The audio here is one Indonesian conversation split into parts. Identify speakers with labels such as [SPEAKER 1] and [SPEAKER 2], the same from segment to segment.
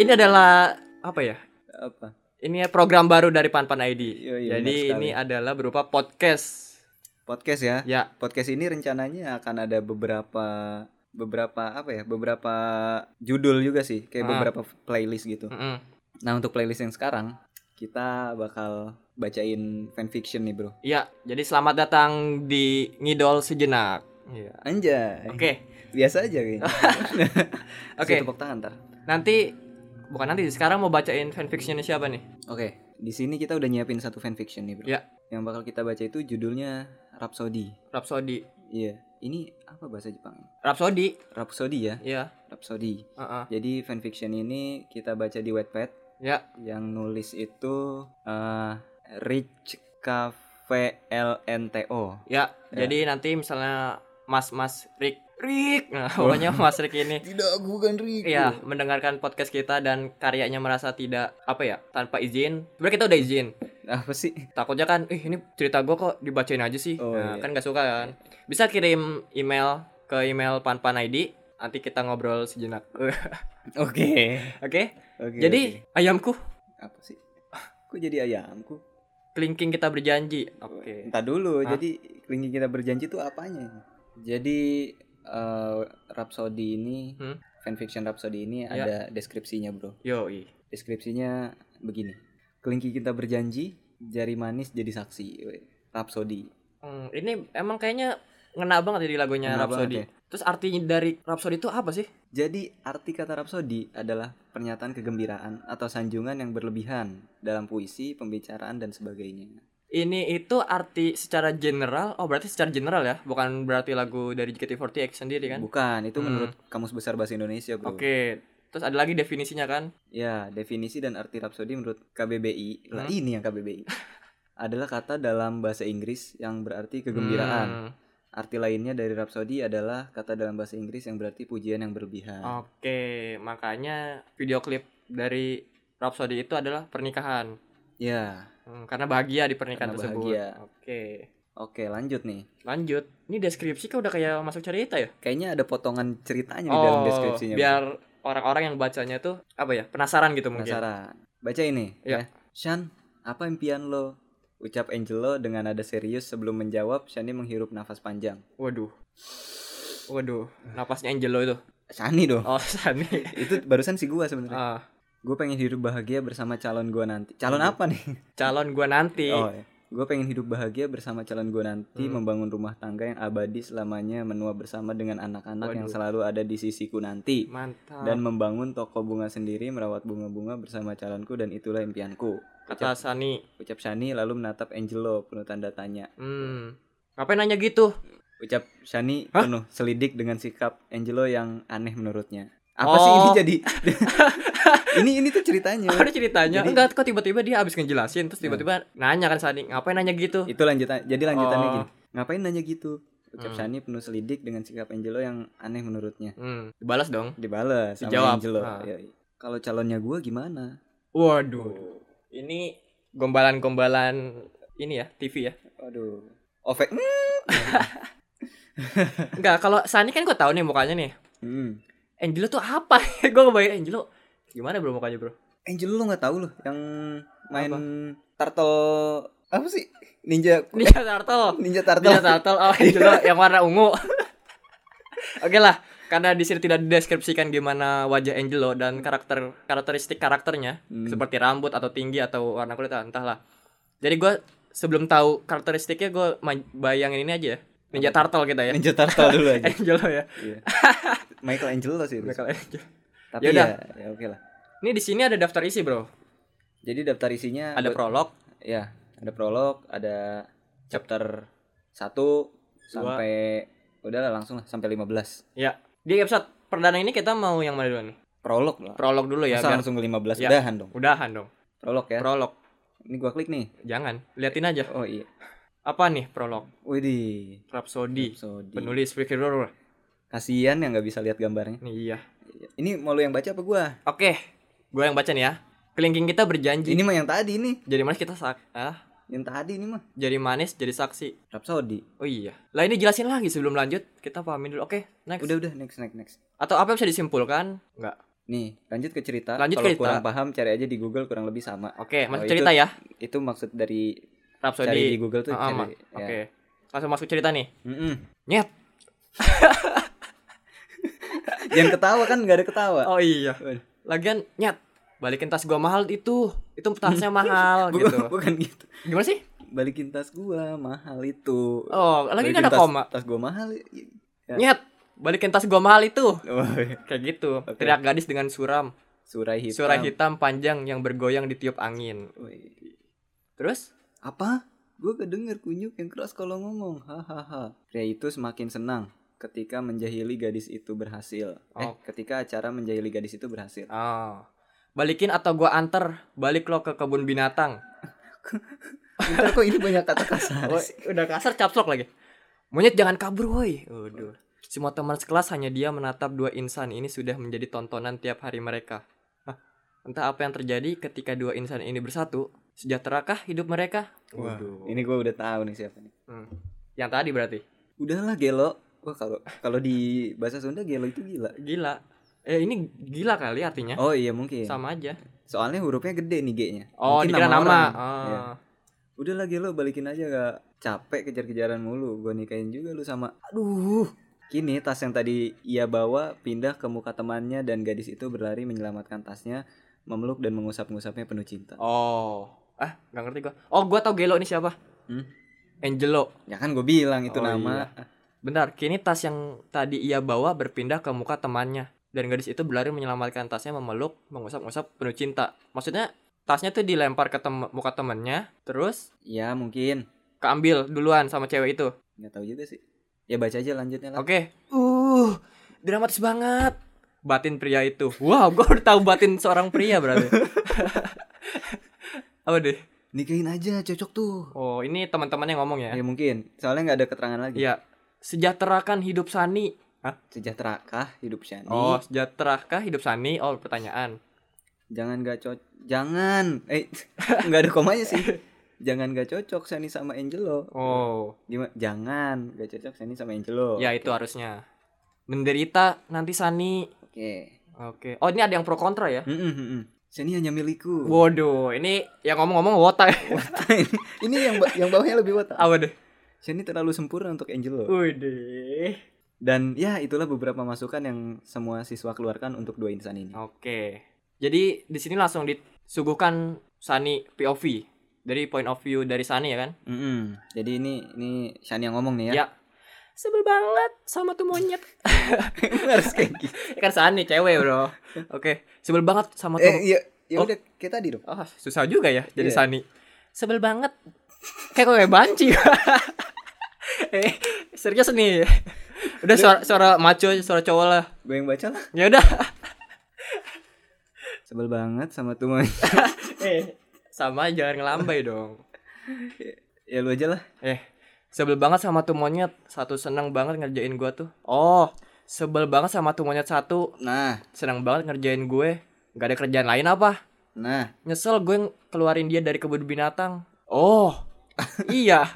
[SPEAKER 1] Ini adalah apa ya?
[SPEAKER 2] Apa?
[SPEAKER 1] Ini program baru dari Panpan ID.
[SPEAKER 2] Yoi, Iya, benar
[SPEAKER 1] Jadi
[SPEAKER 2] sekali.
[SPEAKER 1] ini adalah berupa podcast.
[SPEAKER 2] Podcast ya.
[SPEAKER 1] Ya,
[SPEAKER 2] Podcast ini rencananya akan ada beberapa beberapa apa ya? Beberapa judul juga sih, kayak
[SPEAKER 1] Ah.
[SPEAKER 2] beberapa playlist gitu.
[SPEAKER 1] mm-mm.
[SPEAKER 2] Nah, untuk playlist yang sekarang kita bakal bacain fanfiction nih, Bro.
[SPEAKER 1] ya. Jadi selamat datang di ngidol sejenak. Iya.
[SPEAKER 2] Anjay.
[SPEAKER 1] Oke,
[SPEAKER 2] Biasa aja kayaknya.
[SPEAKER 1] oke.
[SPEAKER 2] Saya tepuk tangan ntar.
[SPEAKER 1] Nanti bukan nanti sekarang mau bacain fanfictionnya siapa nih?
[SPEAKER 2] Oke, di sini kita udah nyiapin satu fanfiction nih, Bro.
[SPEAKER 1] Ya.
[SPEAKER 2] Yang bakal kita baca itu judulnya Rhapsody.
[SPEAKER 1] Rhapsody.
[SPEAKER 2] Iya. Ini apa bahasa Jepang?
[SPEAKER 1] Rhapsody,
[SPEAKER 2] Rhapsody ya,
[SPEAKER 1] ya.
[SPEAKER 2] Rhapsody.
[SPEAKER 1] Heeh.
[SPEAKER 2] Jadi fanfiction ini kita baca di Wattpad.
[SPEAKER 1] Ya.
[SPEAKER 2] Yang nulis itu eh Rich K V L N T O.
[SPEAKER 1] Ya,
[SPEAKER 2] Ya.
[SPEAKER 1] jadi nanti misalnya Mas Mas Rick Rick, nah, pokoknya Mas Rick ini
[SPEAKER 2] Tidak, aku bukan Rich.
[SPEAKER 1] ya mendengarkan podcast kita dan karyanya merasa tidak apa ya tanpa izin. Sebenarnya kita udah izin.
[SPEAKER 2] Apa sih?
[SPEAKER 1] Takutnya kan, ih ini cerita gua kok dibacain aja sih.
[SPEAKER 2] Oh,
[SPEAKER 1] nah,
[SPEAKER 2] iya.
[SPEAKER 1] kan gak suka kan. Bisa kirim email ke email panpanid. Nanti kita ngobrol sejenak. Oke.
[SPEAKER 2] Oke. Iya, Oke.
[SPEAKER 1] Jadi ayamku
[SPEAKER 2] oke. apa sih? Kok jadi ayamku?
[SPEAKER 1] kelingking kita berjanji. Oke.
[SPEAKER 2] Entar dulu.
[SPEAKER 1] Hah?
[SPEAKER 2] Jadi kelingking kita berjanji itu apanya? Jadi eh Rhapsody ini
[SPEAKER 1] Hmm?
[SPEAKER 2] fanfiction Rhapsody ini
[SPEAKER 1] Ya.
[SPEAKER 2] ada deskripsinya, Bro.
[SPEAKER 1] Yoi.
[SPEAKER 2] Deskripsinya begini. Kelingki kita berjanji, jari manis jadi saksi. Weh, Rhapsody.
[SPEAKER 1] Hmm, ini emang kayaknya ngena banget jadi lagunya
[SPEAKER 2] Ngena
[SPEAKER 1] Rhapsody.
[SPEAKER 2] banget ya.
[SPEAKER 1] Terus artinya dari Rhapsody itu apa sih?
[SPEAKER 2] Jadi arti kata Rhapsody adalah pernyataan kegembiraan atau sanjungan yang berlebihan dalam puisi, pembicaraan, dan sebagainya.
[SPEAKER 1] Ini itu arti secara general. Oh, berarti secara general ya, bukan berarti lagu dari JKT48 sendiri kan?
[SPEAKER 2] Bukan, itu
[SPEAKER 1] Hmm.
[SPEAKER 2] menurut Kamus Besar Bahasa Indonesia,
[SPEAKER 1] Oke.
[SPEAKER 2] Bro.
[SPEAKER 1] Terus ada lagi definisinya kan?
[SPEAKER 2] Ya, definisi dan arti Rhapsody menurut KBBI. Lah,
[SPEAKER 1] Hmm.
[SPEAKER 2] ini yang KBBI. adalah kata dalam bahasa Inggris yang berarti kegembiraan.
[SPEAKER 1] Hmm,
[SPEAKER 2] Arti lainnya dari Rhapsody adalah kata dalam bahasa Inggris yang berarti pujian yang berlebihan.
[SPEAKER 1] Oke, makanya video klip dari Rhapsody itu adalah pernikahan.
[SPEAKER 2] Ya,
[SPEAKER 1] Hmm, karena bahagia di pernikahan
[SPEAKER 2] Karena
[SPEAKER 1] tersebut.
[SPEAKER 2] bahagia.
[SPEAKER 1] Oke.
[SPEAKER 2] oke lanjut nih.
[SPEAKER 1] Lanjut. Ini deskripsi kan udah kayak masuk cerita ya? Oh,
[SPEAKER 2] Kayaknya ada potongan ceritanya di dalam deskripsinya.
[SPEAKER 1] biar orang-orang yang bacanya tuh apa ya? Penasaran gitu mungkin.
[SPEAKER 2] penasaran. Baca ini.
[SPEAKER 1] Ya.
[SPEAKER 2] Shan, apa impian lo? Ucap Angelo dengan nada serius sebelum menjawab. Shani menghirup nafas panjang.
[SPEAKER 1] Waduh. Waduh, napasnya Angelo itu.
[SPEAKER 2] Shani dong.
[SPEAKER 1] Oh, Sani.
[SPEAKER 2] Itu barusan si gua sebenarnya.
[SPEAKER 1] Ah,
[SPEAKER 2] Gue pengen hidup bahagia bersama calon gua nanti. Calon
[SPEAKER 1] Hmm.
[SPEAKER 2] apa nih?
[SPEAKER 1] calon gua nanti.
[SPEAKER 2] Oh, ya. Gue pengen hidup bahagia bersama calon gue nanti
[SPEAKER 1] Iya. Hmm.
[SPEAKER 2] Membangun rumah tangga yang abadi selamanya Menua bersama dengan anak-anak
[SPEAKER 1] Waduh. Ah.
[SPEAKER 2] yang selalu ada di sisiku nanti
[SPEAKER 1] Mantap.
[SPEAKER 2] Dan membangun toko bunga sendiri Merawat bunga-bunga bersama calonku Dan itulah impianku
[SPEAKER 1] kata Sani.
[SPEAKER 2] Ucap Shani lalu menatap Angelo penuh tanda tanya.
[SPEAKER 1] Hmm. Ngapain nanya gitu?
[SPEAKER 2] Ucap Shani
[SPEAKER 1] Hah?
[SPEAKER 2] penuh selidik dengan sikap Angelo yang aneh menurutnya. Apa sih ini
[SPEAKER 1] Oh.
[SPEAKER 2] jadi? ini ini tuh ceritanya.
[SPEAKER 1] Ada ceritanya.
[SPEAKER 2] Jadi- Nah.
[SPEAKER 1] Enggak, kok tiba-tiba dia habis ngejelasin terus tiba-tiba nanya kan Sani, ngapain nanya gitu?
[SPEAKER 2] Itu lanjutan. Jadi lanjutannya
[SPEAKER 1] Oh.
[SPEAKER 2] gini. Ngapain nanya gitu? Ucap
[SPEAKER 1] Hmm.
[SPEAKER 2] Shani penuh selidik dengan sikap Angelo yang aneh menurutnya.
[SPEAKER 1] Hmm, dibalas dong.
[SPEAKER 2] Dibales sama
[SPEAKER 1] Dijawab.
[SPEAKER 2] Angelo.
[SPEAKER 1] Ah.
[SPEAKER 2] Yoi. Kalau calonnya gue gimana?
[SPEAKER 1] Waduh. Ini gombalan-gombalan ini ya, TV ya.
[SPEAKER 2] Waduh. Ovek.
[SPEAKER 1] Hmm. Enggak, kalau Sani kan gua tahu nih mukanya nih.
[SPEAKER 2] Hmm.
[SPEAKER 1] Angelo tuh apa? ya? gua ngebayangin Angelo gimana bro mukanya, Bro?
[SPEAKER 2] Angelo lo nggak tahu loh yang main
[SPEAKER 1] Apa?
[SPEAKER 2] turtle apa sih? Ninja
[SPEAKER 1] Ninja Turtle.
[SPEAKER 2] Ninja Turtle.
[SPEAKER 1] Ninja Turtle. Oh, Angelo yang warna ungu. Oke lah, karena di sini tidak dideskripsikan gimana wajah Angelo dan karakter karakteristik karakternya.
[SPEAKER 2] Hmm.
[SPEAKER 1] seperti rambut atau tinggi atau warna kulit ah, entahlah jadi gue sebelum tahu karakteristiknya gue bayangin ini aja ya ninja turtle kita ya
[SPEAKER 2] Ninja Turtle dulu aja.
[SPEAKER 1] Angelo ya
[SPEAKER 2] Iya. Michael Angelo sih. itu.
[SPEAKER 1] Michael Angelo.
[SPEAKER 2] Tapi
[SPEAKER 1] Yaudah.
[SPEAKER 2] ya, ya oke lah.
[SPEAKER 1] ini di sini ada daftar isi bro
[SPEAKER 2] Jadi daftar isinya
[SPEAKER 1] ada
[SPEAKER 2] buat-
[SPEAKER 1] prolog
[SPEAKER 2] Ya, ada prolog, ada chapter 1 sampai udahlah langsung lah sampai 15.
[SPEAKER 1] ya di episode perdana ini kita mau yang mana dulu nih
[SPEAKER 2] Prolog lah.
[SPEAKER 1] prolog dulu ya
[SPEAKER 2] Masa
[SPEAKER 1] biar
[SPEAKER 2] langsung ke 15
[SPEAKER 1] Ya.
[SPEAKER 2] udahan dong.
[SPEAKER 1] udahan dong
[SPEAKER 2] Prolog ya.
[SPEAKER 1] prolog
[SPEAKER 2] Ini gua klik nih.
[SPEAKER 1] jangan liatin aja
[SPEAKER 2] Oh iya.
[SPEAKER 1] apa nih prolog
[SPEAKER 2] Widih.
[SPEAKER 1] Rhapsody
[SPEAKER 2] Rhapsody.
[SPEAKER 1] penulis Ricky Rohrer.
[SPEAKER 2] Kasihan yang nggak bisa lihat gambarnya.
[SPEAKER 1] nih iya
[SPEAKER 2] Ini mau lu yang baca apa gua?
[SPEAKER 1] oke gue yang baca nih ya kelingking kita berjanji
[SPEAKER 2] Ini mah yang tadi nih.
[SPEAKER 1] jadi manis kita sak ah
[SPEAKER 2] Yang tadi ini mah.
[SPEAKER 1] jadi manis jadi saksi
[SPEAKER 2] Rhapsody.
[SPEAKER 1] Oh iya. Lah ini jelasin lagi sebelum lanjut, kita pahamin dulu. Oke, next.
[SPEAKER 2] Udah udah next next next.
[SPEAKER 1] Atau apa yang bisa disimpulkan? Enggak.
[SPEAKER 2] Nih, lanjut ke cerita.
[SPEAKER 1] Lanjut
[SPEAKER 2] Kalau
[SPEAKER 1] cerita.
[SPEAKER 2] kurang paham cari aja di Google kurang lebih sama.
[SPEAKER 1] Oke, masuk
[SPEAKER 2] Oh, itu
[SPEAKER 1] cerita ya.
[SPEAKER 2] Itu maksud dari cari di
[SPEAKER 1] Rhapsody.
[SPEAKER 2] Google tuh
[SPEAKER 1] Ah, ah,
[SPEAKER 2] cari.
[SPEAKER 1] Ma.
[SPEAKER 2] ya.
[SPEAKER 1] Oke. Langsung masuk cerita nih.
[SPEAKER 2] Mm-mm.
[SPEAKER 1] Nyet.
[SPEAKER 2] Jangan ketawa kan nggak ada ketawa.
[SPEAKER 1] Oh iya. Lagian nyet. Balikin tas gua mahal itu. Itu tasnya mahal
[SPEAKER 2] Bukan,
[SPEAKER 1] gitu.
[SPEAKER 2] bukan gitu.
[SPEAKER 1] Gimana sih?
[SPEAKER 2] Balikin tas gua mahal itu.
[SPEAKER 1] Oh, lagi
[SPEAKER 2] Balikin
[SPEAKER 1] kan ada
[SPEAKER 2] tas-
[SPEAKER 1] koma.
[SPEAKER 2] Tas gua mahal. Ya.
[SPEAKER 1] Nyet. Balikin tas gua mahal itu.
[SPEAKER 2] Oh, iya.
[SPEAKER 1] Kayak gitu.
[SPEAKER 2] Oke.
[SPEAKER 1] Teriak gadis dengan suram.
[SPEAKER 2] Surai hitam.
[SPEAKER 1] Suara hitam panjang yang bergoyang ditiup angin.
[SPEAKER 2] Wih.
[SPEAKER 1] Terus?
[SPEAKER 2] iya. Apa? Gua kedenger kunyuk yang keras kalau ngomong. Hahaha. Pria Ya, itu semakin senang ketika menjahili gadis itu berhasil. Eh,
[SPEAKER 1] Oh.
[SPEAKER 2] ketika acara menjahili gadis itu berhasil.
[SPEAKER 1] Oh. Balikin atau gua anter, balik lo ke kebun binatang.
[SPEAKER 2] Bentar kok ini banyak kata kasar.
[SPEAKER 1] Oh,
[SPEAKER 2] sih?
[SPEAKER 1] udah kasar capslok lagi. Monyet jangan kabur, woi. Waduh. Semua teman sekelas hanya dia menatap dua insan ini sudah menjadi tontonan tiap hari mereka. Hah, entah apa yang terjadi ketika dua insan ini bersatu. Sejahterakah hidup mereka?
[SPEAKER 2] Wah,
[SPEAKER 1] Waduh.
[SPEAKER 2] ini gua udah tahu nih siapa nih.
[SPEAKER 1] Hmm. Yang tadi berarti.
[SPEAKER 2] Udahlah gelo. Wah, kalau kalau di bahasa Sunda gelo itu gila.
[SPEAKER 1] Gila. Eh ini gila kali artinya.
[SPEAKER 2] Oh iya mungkin.
[SPEAKER 1] ya. Sama aja.
[SPEAKER 2] Soalnya hurufnya gede nih G-nya.
[SPEAKER 1] Oh,
[SPEAKER 2] Mungkin
[SPEAKER 1] dikira nama.
[SPEAKER 2] orang.
[SPEAKER 1] Ah.
[SPEAKER 2] Iya. Udah lagi lo balikin aja gak capek kejar-kejaran mulu. Gue nikahin juga lu sama.
[SPEAKER 1] Aduh.
[SPEAKER 2] Kini tas yang tadi ia bawa pindah ke muka temannya dan gadis itu berlari menyelamatkan tasnya, memeluk dan mengusap-ngusapnya penuh cinta.
[SPEAKER 1] Oh. Ah, nggak ngerti gua. Oh, gua tau Gelo ini siapa?
[SPEAKER 2] Hmm?
[SPEAKER 1] Angelo.
[SPEAKER 2] Ya kan gue bilang itu
[SPEAKER 1] Oh,
[SPEAKER 2] nama.
[SPEAKER 1] Benar, kini tas yang tadi ia bawa berpindah ke muka temannya. Dan gadis itu berlari menyelamatkan tasnya memeluk, mengusap-ngusap penuh cinta. Maksudnya, tasnya tuh dilempar ke tem- muka temannya, terus
[SPEAKER 2] Ya mungkin.
[SPEAKER 1] keambil duluan sama cewek itu.
[SPEAKER 2] Nggak tahu juga sih. Ya baca aja lanjutnya lah.
[SPEAKER 1] Oke. Uh, dramatis banget. Batin pria itu. Wow, gue udah tahu batin seorang pria berarti. Apa deh?
[SPEAKER 2] Nikahin aja cocok tuh.
[SPEAKER 1] Oh, ini teman-temannya ngomong ya.
[SPEAKER 2] Ya mungkin. Soalnya nggak ada keterangan lagi.
[SPEAKER 1] Iya. Sejahterakan hidup Sani. Hah?
[SPEAKER 2] Sejahterakah hidup Shani?
[SPEAKER 1] Oh, sejahterahkah hidup Sani? Oh, pertanyaan.
[SPEAKER 2] Jangan gak cocok. Jangan. Eh, nggak ada komanya sih. Jangan gak cocok Sani sama Angelo.
[SPEAKER 1] Oh,
[SPEAKER 2] Gimana? Jangan gak cocok Sani sama Angelo.
[SPEAKER 1] ya itu harusnya. Menderita nanti Sani.
[SPEAKER 2] Oke.
[SPEAKER 1] Oke. Oh, ini ada yang pro kontra ya.
[SPEAKER 2] Mm, mm, mm, mm. Sani hanya milikku.
[SPEAKER 1] Waduh, ini yang ngomong-ngomong wota. ya.
[SPEAKER 2] Ini yang ba- yang bawahnya lebih watak.
[SPEAKER 1] Apa deh?
[SPEAKER 2] Sani terlalu sempurna untuk Angelo.
[SPEAKER 1] Widih.
[SPEAKER 2] Dan ya itulah beberapa masukan yang semua siswa keluarkan untuk dua insan ini.
[SPEAKER 1] Oke. Jadi di sini langsung disuguhkan Sani POV dari point of view dari Sani ya kan?
[SPEAKER 2] Mm, mm. Jadi ini ini Sani yang ngomong nih ya.
[SPEAKER 1] Ya. Sebel banget sama tuh monyet.
[SPEAKER 2] Harus kayak gitu.
[SPEAKER 1] Ya kan Sani cewek, Bro. Oke. Sebel banget sama tuh
[SPEAKER 2] Eh, ya, ya
[SPEAKER 1] Oh.
[SPEAKER 2] udah kayak tadi dong.
[SPEAKER 1] Ah, susah juga ya jadi
[SPEAKER 2] Iya.
[SPEAKER 1] Sani. Sebel banget. Kayak kayak banci. eh, serius nih. Udah suara, suara maco, suara cowok lah.
[SPEAKER 2] Gue yang baca lah.
[SPEAKER 1] Ya udah.
[SPEAKER 2] Sebel banget sama tuh.
[SPEAKER 1] Eh, sama jangan ngelambai dong.
[SPEAKER 2] ya lu aja lah.
[SPEAKER 1] Eh, sebel banget sama tuh monyet. Satu seneng banget ngerjain gua tuh. Oh, sebel banget sama tuh monyet satu.
[SPEAKER 2] Nah,
[SPEAKER 1] Seneng banget ngerjain gue. Gak ada kerjaan lain apa?
[SPEAKER 2] Nah,
[SPEAKER 1] Nyesel gue ng- keluarin dia dari kebun binatang. Oh, iya.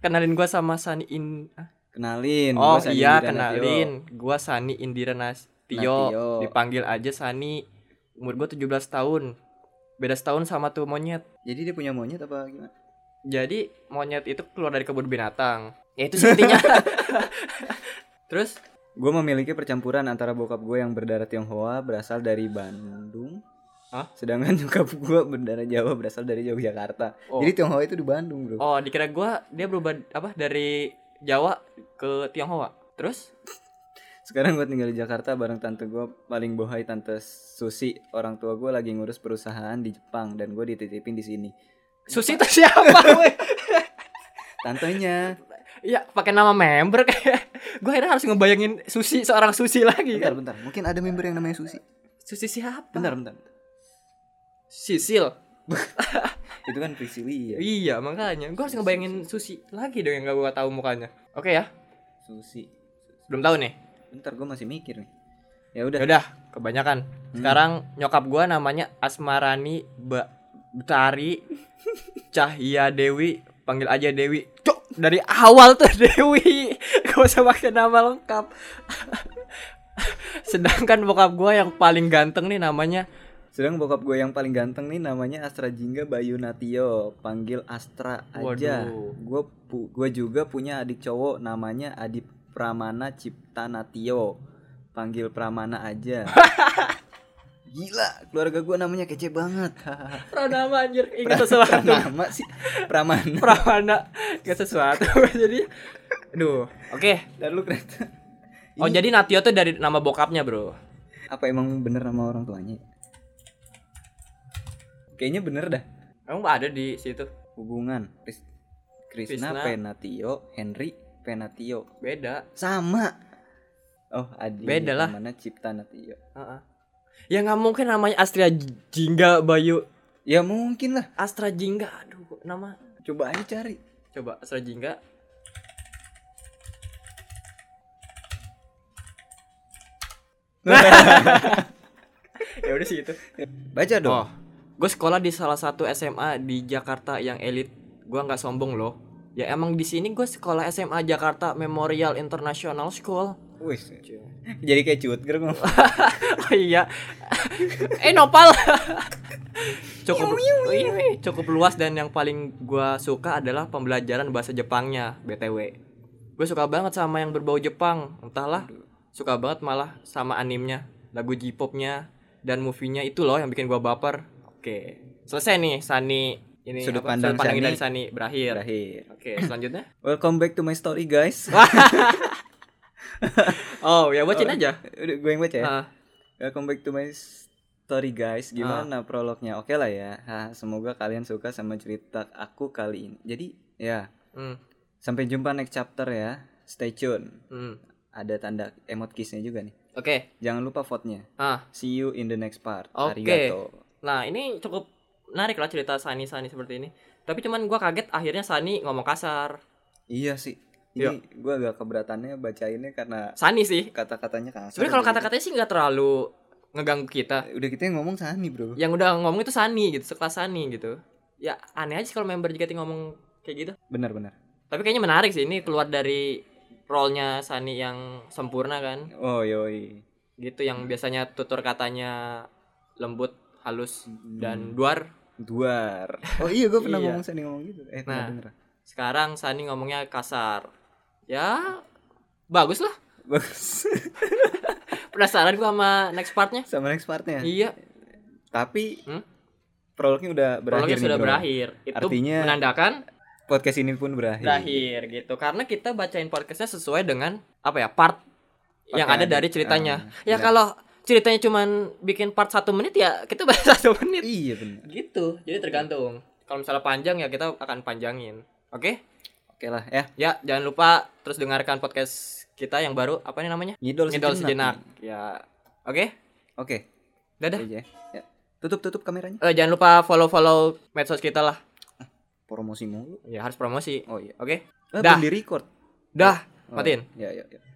[SPEAKER 1] Kenalin gua sama Sani in ah,
[SPEAKER 2] kenalin.
[SPEAKER 1] Oh
[SPEAKER 2] gua Sandi
[SPEAKER 1] iya
[SPEAKER 2] Wiranatio.
[SPEAKER 1] kenalin Gua Sani Indira Nastio
[SPEAKER 2] Nastio.
[SPEAKER 1] Dipanggil aja Sani Umur gua 17 tahun Beda setahun sama tuh monyet
[SPEAKER 2] Jadi dia punya monyet apa gimana?
[SPEAKER 1] Jadi monyet itu keluar dari kebun binatang Ya itu sih intinya Terus
[SPEAKER 2] Gue memiliki percampuran antara bokap gue yang berdarah Tionghoa berasal dari Bandung.
[SPEAKER 1] Hah?
[SPEAKER 2] Sedangkan nyokap gue berdarah Jawa berasal dari Yogyakarta.
[SPEAKER 1] Oh.
[SPEAKER 2] Jadi Tionghoa itu di Bandung, Bro.
[SPEAKER 1] Oh dikira gua dia berubah apa dari Jawa ke Tionghoa Terus
[SPEAKER 2] Sekarang gue tinggal di Jakarta bareng tante gue paling bohai tante Susi. Orang tua gue lagi ngurus perusahaan di Jepang dan gue dititipin di sini.
[SPEAKER 1] Susi itu siapa weh?
[SPEAKER 2] Tantenya.
[SPEAKER 1] Ya pakai nama member kayak Gue akhirnya harus ngebayangin Susi seorang Susi lagi
[SPEAKER 2] Bentar,
[SPEAKER 1] kan
[SPEAKER 2] bentar. Mungkin ada member yang namanya Susi.
[SPEAKER 1] Susi siapa?
[SPEAKER 2] Bentar, bentar. bentar.
[SPEAKER 1] Sisil
[SPEAKER 2] Itu kan Priscilia.
[SPEAKER 1] Iya makanya Gue harus ngebayangin Susi lagi dong yang gak gue tahu mukanya Oke ya
[SPEAKER 2] Susi.
[SPEAKER 1] Belum tahu nih
[SPEAKER 2] Bentar, gue masih mikir nih. Ya udah.
[SPEAKER 1] Yaudah kebanyakan Sekarang nyokap gue namanya Asmarani ba Betari Cahya Dewi Panggil aja Dewi Cuk dari awal tuh Dewi Gak usah pakai nama lengkap Sedangkan bokap gue yang paling ganteng nih namanya
[SPEAKER 2] Sedang bokap gue yang paling ganteng nih namanya Astra Jingga Bayu Natio, panggil Astra aja.
[SPEAKER 1] Waduh.
[SPEAKER 2] Gue pu- gue juga punya adik cowok namanya Adi Pramana Cipta Natio, panggil Pramana aja. Gila, keluarga gue namanya kece banget.
[SPEAKER 1] Pranama anjir
[SPEAKER 2] Pra-
[SPEAKER 1] ingat sesuatu
[SPEAKER 2] Pranama sih, Pramana.
[SPEAKER 1] Pramana ingat sesuatu jadi aduh oke
[SPEAKER 2] Dan lu kereta.
[SPEAKER 1] oh jadi Natio tuh dari nama bokapnya bro
[SPEAKER 2] Apa emang bener nama orang tuanya? Kayaknya bener dah.
[SPEAKER 1] emang ada di situ
[SPEAKER 2] Hubungan Kris- Krisna,
[SPEAKER 1] Krisna.
[SPEAKER 2] Penatio, Henry Penatio.
[SPEAKER 1] beda
[SPEAKER 2] Sama. Oh, Adi.
[SPEAKER 1] Beda lah.
[SPEAKER 2] Mana Cipta Natio.
[SPEAKER 1] Heeh. ya nggak mungkin namanya Astra J- Jingga Bayu
[SPEAKER 2] Ya mungkin lah.
[SPEAKER 1] Astra Jingga aduh nama
[SPEAKER 2] Coba aja cari.
[SPEAKER 1] coba Astra Jingga ya udah sih itu
[SPEAKER 2] Baca dong.
[SPEAKER 1] Oh, gue sekolah di salah satu SMA di Jakarta yang elit. Gue nggak sombong loh. Ya emang di sini gue sekolah SMA Jakarta Memorial International School.
[SPEAKER 2] Wih. Jadi kayak cuut ger ngomong.
[SPEAKER 1] oh iya. eh nopal. cukup Ih, cukup luas dan yang paling gue suka adalah pembelajaran bahasa Jepangnya btw. Gue suka banget sama yang berbau Jepang. Entahlah, suka banget malah sama animnya, lagu J-popnya dan movie-nya itu loh yang bikin gue baper. Oke, selesai nih Sani. Ini
[SPEAKER 2] Sudut pandang
[SPEAKER 1] pandangnya
[SPEAKER 2] Sani.
[SPEAKER 1] dari Sani berakhir.
[SPEAKER 2] Terakhir.
[SPEAKER 1] Oke, selanjutnya.
[SPEAKER 2] Welcome back to my story, guys.
[SPEAKER 1] Oh ya bacain aja.
[SPEAKER 2] Udah, gue yang baca ya.
[SPEAKER 1] Ah,
[SPEAKER 2] Welcome back to my story guys
[SPEAKER 1] Ah.
[SPEAKER 2] Gimana prolognya? Oke lah ya Hah, Semoga kalian suka sama cerita aku kali ini Jadi ya
[SPEAKER 1] hmm,
[SPEAKER 2] Sampai jumpa next chapter ya Stay tune
[SPEAKER 1] hmm.
[SPEAKER 2] Ada tanda emot kissnya juga nih
[SPEAKER 1] Oke.
[SPEAKER 2] Jangan lupa vote-nya
[SPEAKER 1] Ah,
[SPEAKER 2] See you in the next part
[SPEAKER 1] Oke.
[SPEAKER 2] Arigato
[SPEAKER 1] Nah ini cukup menarik lah cerita Sani Sani seperti ini. Tapi cuman gua kaget akhirnya Sani ngomong kasar.
[SPEAKER 2] Iya sih Ini gue agak keberatannya bacainnya karena
[SPEAKER 1] Sani sih.
[SPEAKER 2] Kata-katanya kasar
[SPEAKER 1] Sebenarnya kalau
[SPEAKER 2] gitu.
[SPEAKER 1] kata-katanya sih nggak terlalu ngeganggu kita.
[SPEAKER 2] Udah kita yang ngomong sani bro
[SPEAKER 1] Yang udah ngomong itu Sani gitu, sekelas Sani gitu. Ya aneh aja sih kalau member JKT ngomong kayak gitu.
[SPEAKER 2] Bener-bener
[SPEAKER 1] Tapi kayaknya menarik sih ini keluar dari role-nya Sani yang sempurna kan.
[SPEAKER 2] Oh yoi
[SPEAKER 1] Gitu yang biasanya tutur katanya lembut, halus
[SPEAKER 2] Hmm.
[SPEAKER 1] dan duar.
[SPEAKER 2] Duar Oh iya gue pernah
[SPEAKER 1] Iya.
[SPEAKER 2] ngomong sani ngomong gitu Eh pernah
[SPEAKER 1] Nah.
[SPEAKER 2] denger
[SPEAKER 1] Sekarang Sani ngomongnya kasar. Ya bagus lah.
[SPEAKER 2] Bagus
[SPEAKER 1] Penasaran gua sama next partnya.
[SPEAKER 2] Sama next partnya
[SPEAKER 1] Iya,
[SPEAKER 2] Tapi
[SPEAKER 1] Hmm?
[SPEAKER 2] prolognya udah berakhir
[SPEAKER 1] prolognya
[SPEAKER 2] nih,
[SPEAKER 1] sudah
[SPEAKER 2] Bro.
[SPEAKER 1] berakhir. Itu
[SPEAKER 2] Artinya-
[SPEAKER 1] menandakan
[SPEAKER 2] Podcast ini pun berakhir.
[SPEAKER 1] berakhir gitu. Karena kita bacain podcastnya sesuai dengan apa ya part, yang
[SPEAKER 2] yang
[SPEAKER 1] ada
[SPEAKER 2] ada.
[SPEAKER 1] dari ceritanya.
[SPEAKER 2] Ah,
[SPEAKER 1] ya
[SPEAKER 2] benar.
[SPEAKER 1] kalau ceritanya cuman bikin part satu menit ya kita bahas satu menit.
[SPEAKER 2] Iya benar.
[SPEAKER 1] Gitu. Jadi tergantung. Kalau misalnya panjang ya kita akan panjangin. Oke?
[SPEAKER 2] Oke lah ya.
[SPEAKER 1] Ya jangan lupa terus dengarkan podcast kita yang baru. Apa nih namanya?
[SPEAKER 2] Ngidol,
[SPEAKER 1] Ngidol sejenak. Ya. Oke.
[SPEAKER 2] Oke.
[SPEAKER 1] Dadah.
[SPEAKER 2] aja ya. Tutup tutup kameranya.
[SPEAKER 1] Eh, jangan lupa follow-follow medsos kita lah.
[SPEAKER 2] Promosi mulu.
[SPEAKER 1] Ya harus promosi.
[SPEAKER 2] Oh iya.
[SPEAKER 1] Oke.
[SPEAKER 2] Eh,
[SPEAKER 1] Dah.
[SPEAKER 2] belum di record.
[SPEAKER 1] Dah.
[SPEAKER 2] Oh,
[SPEAKER 1] Matiin.
[SPEAKER 2] Ya ya ya.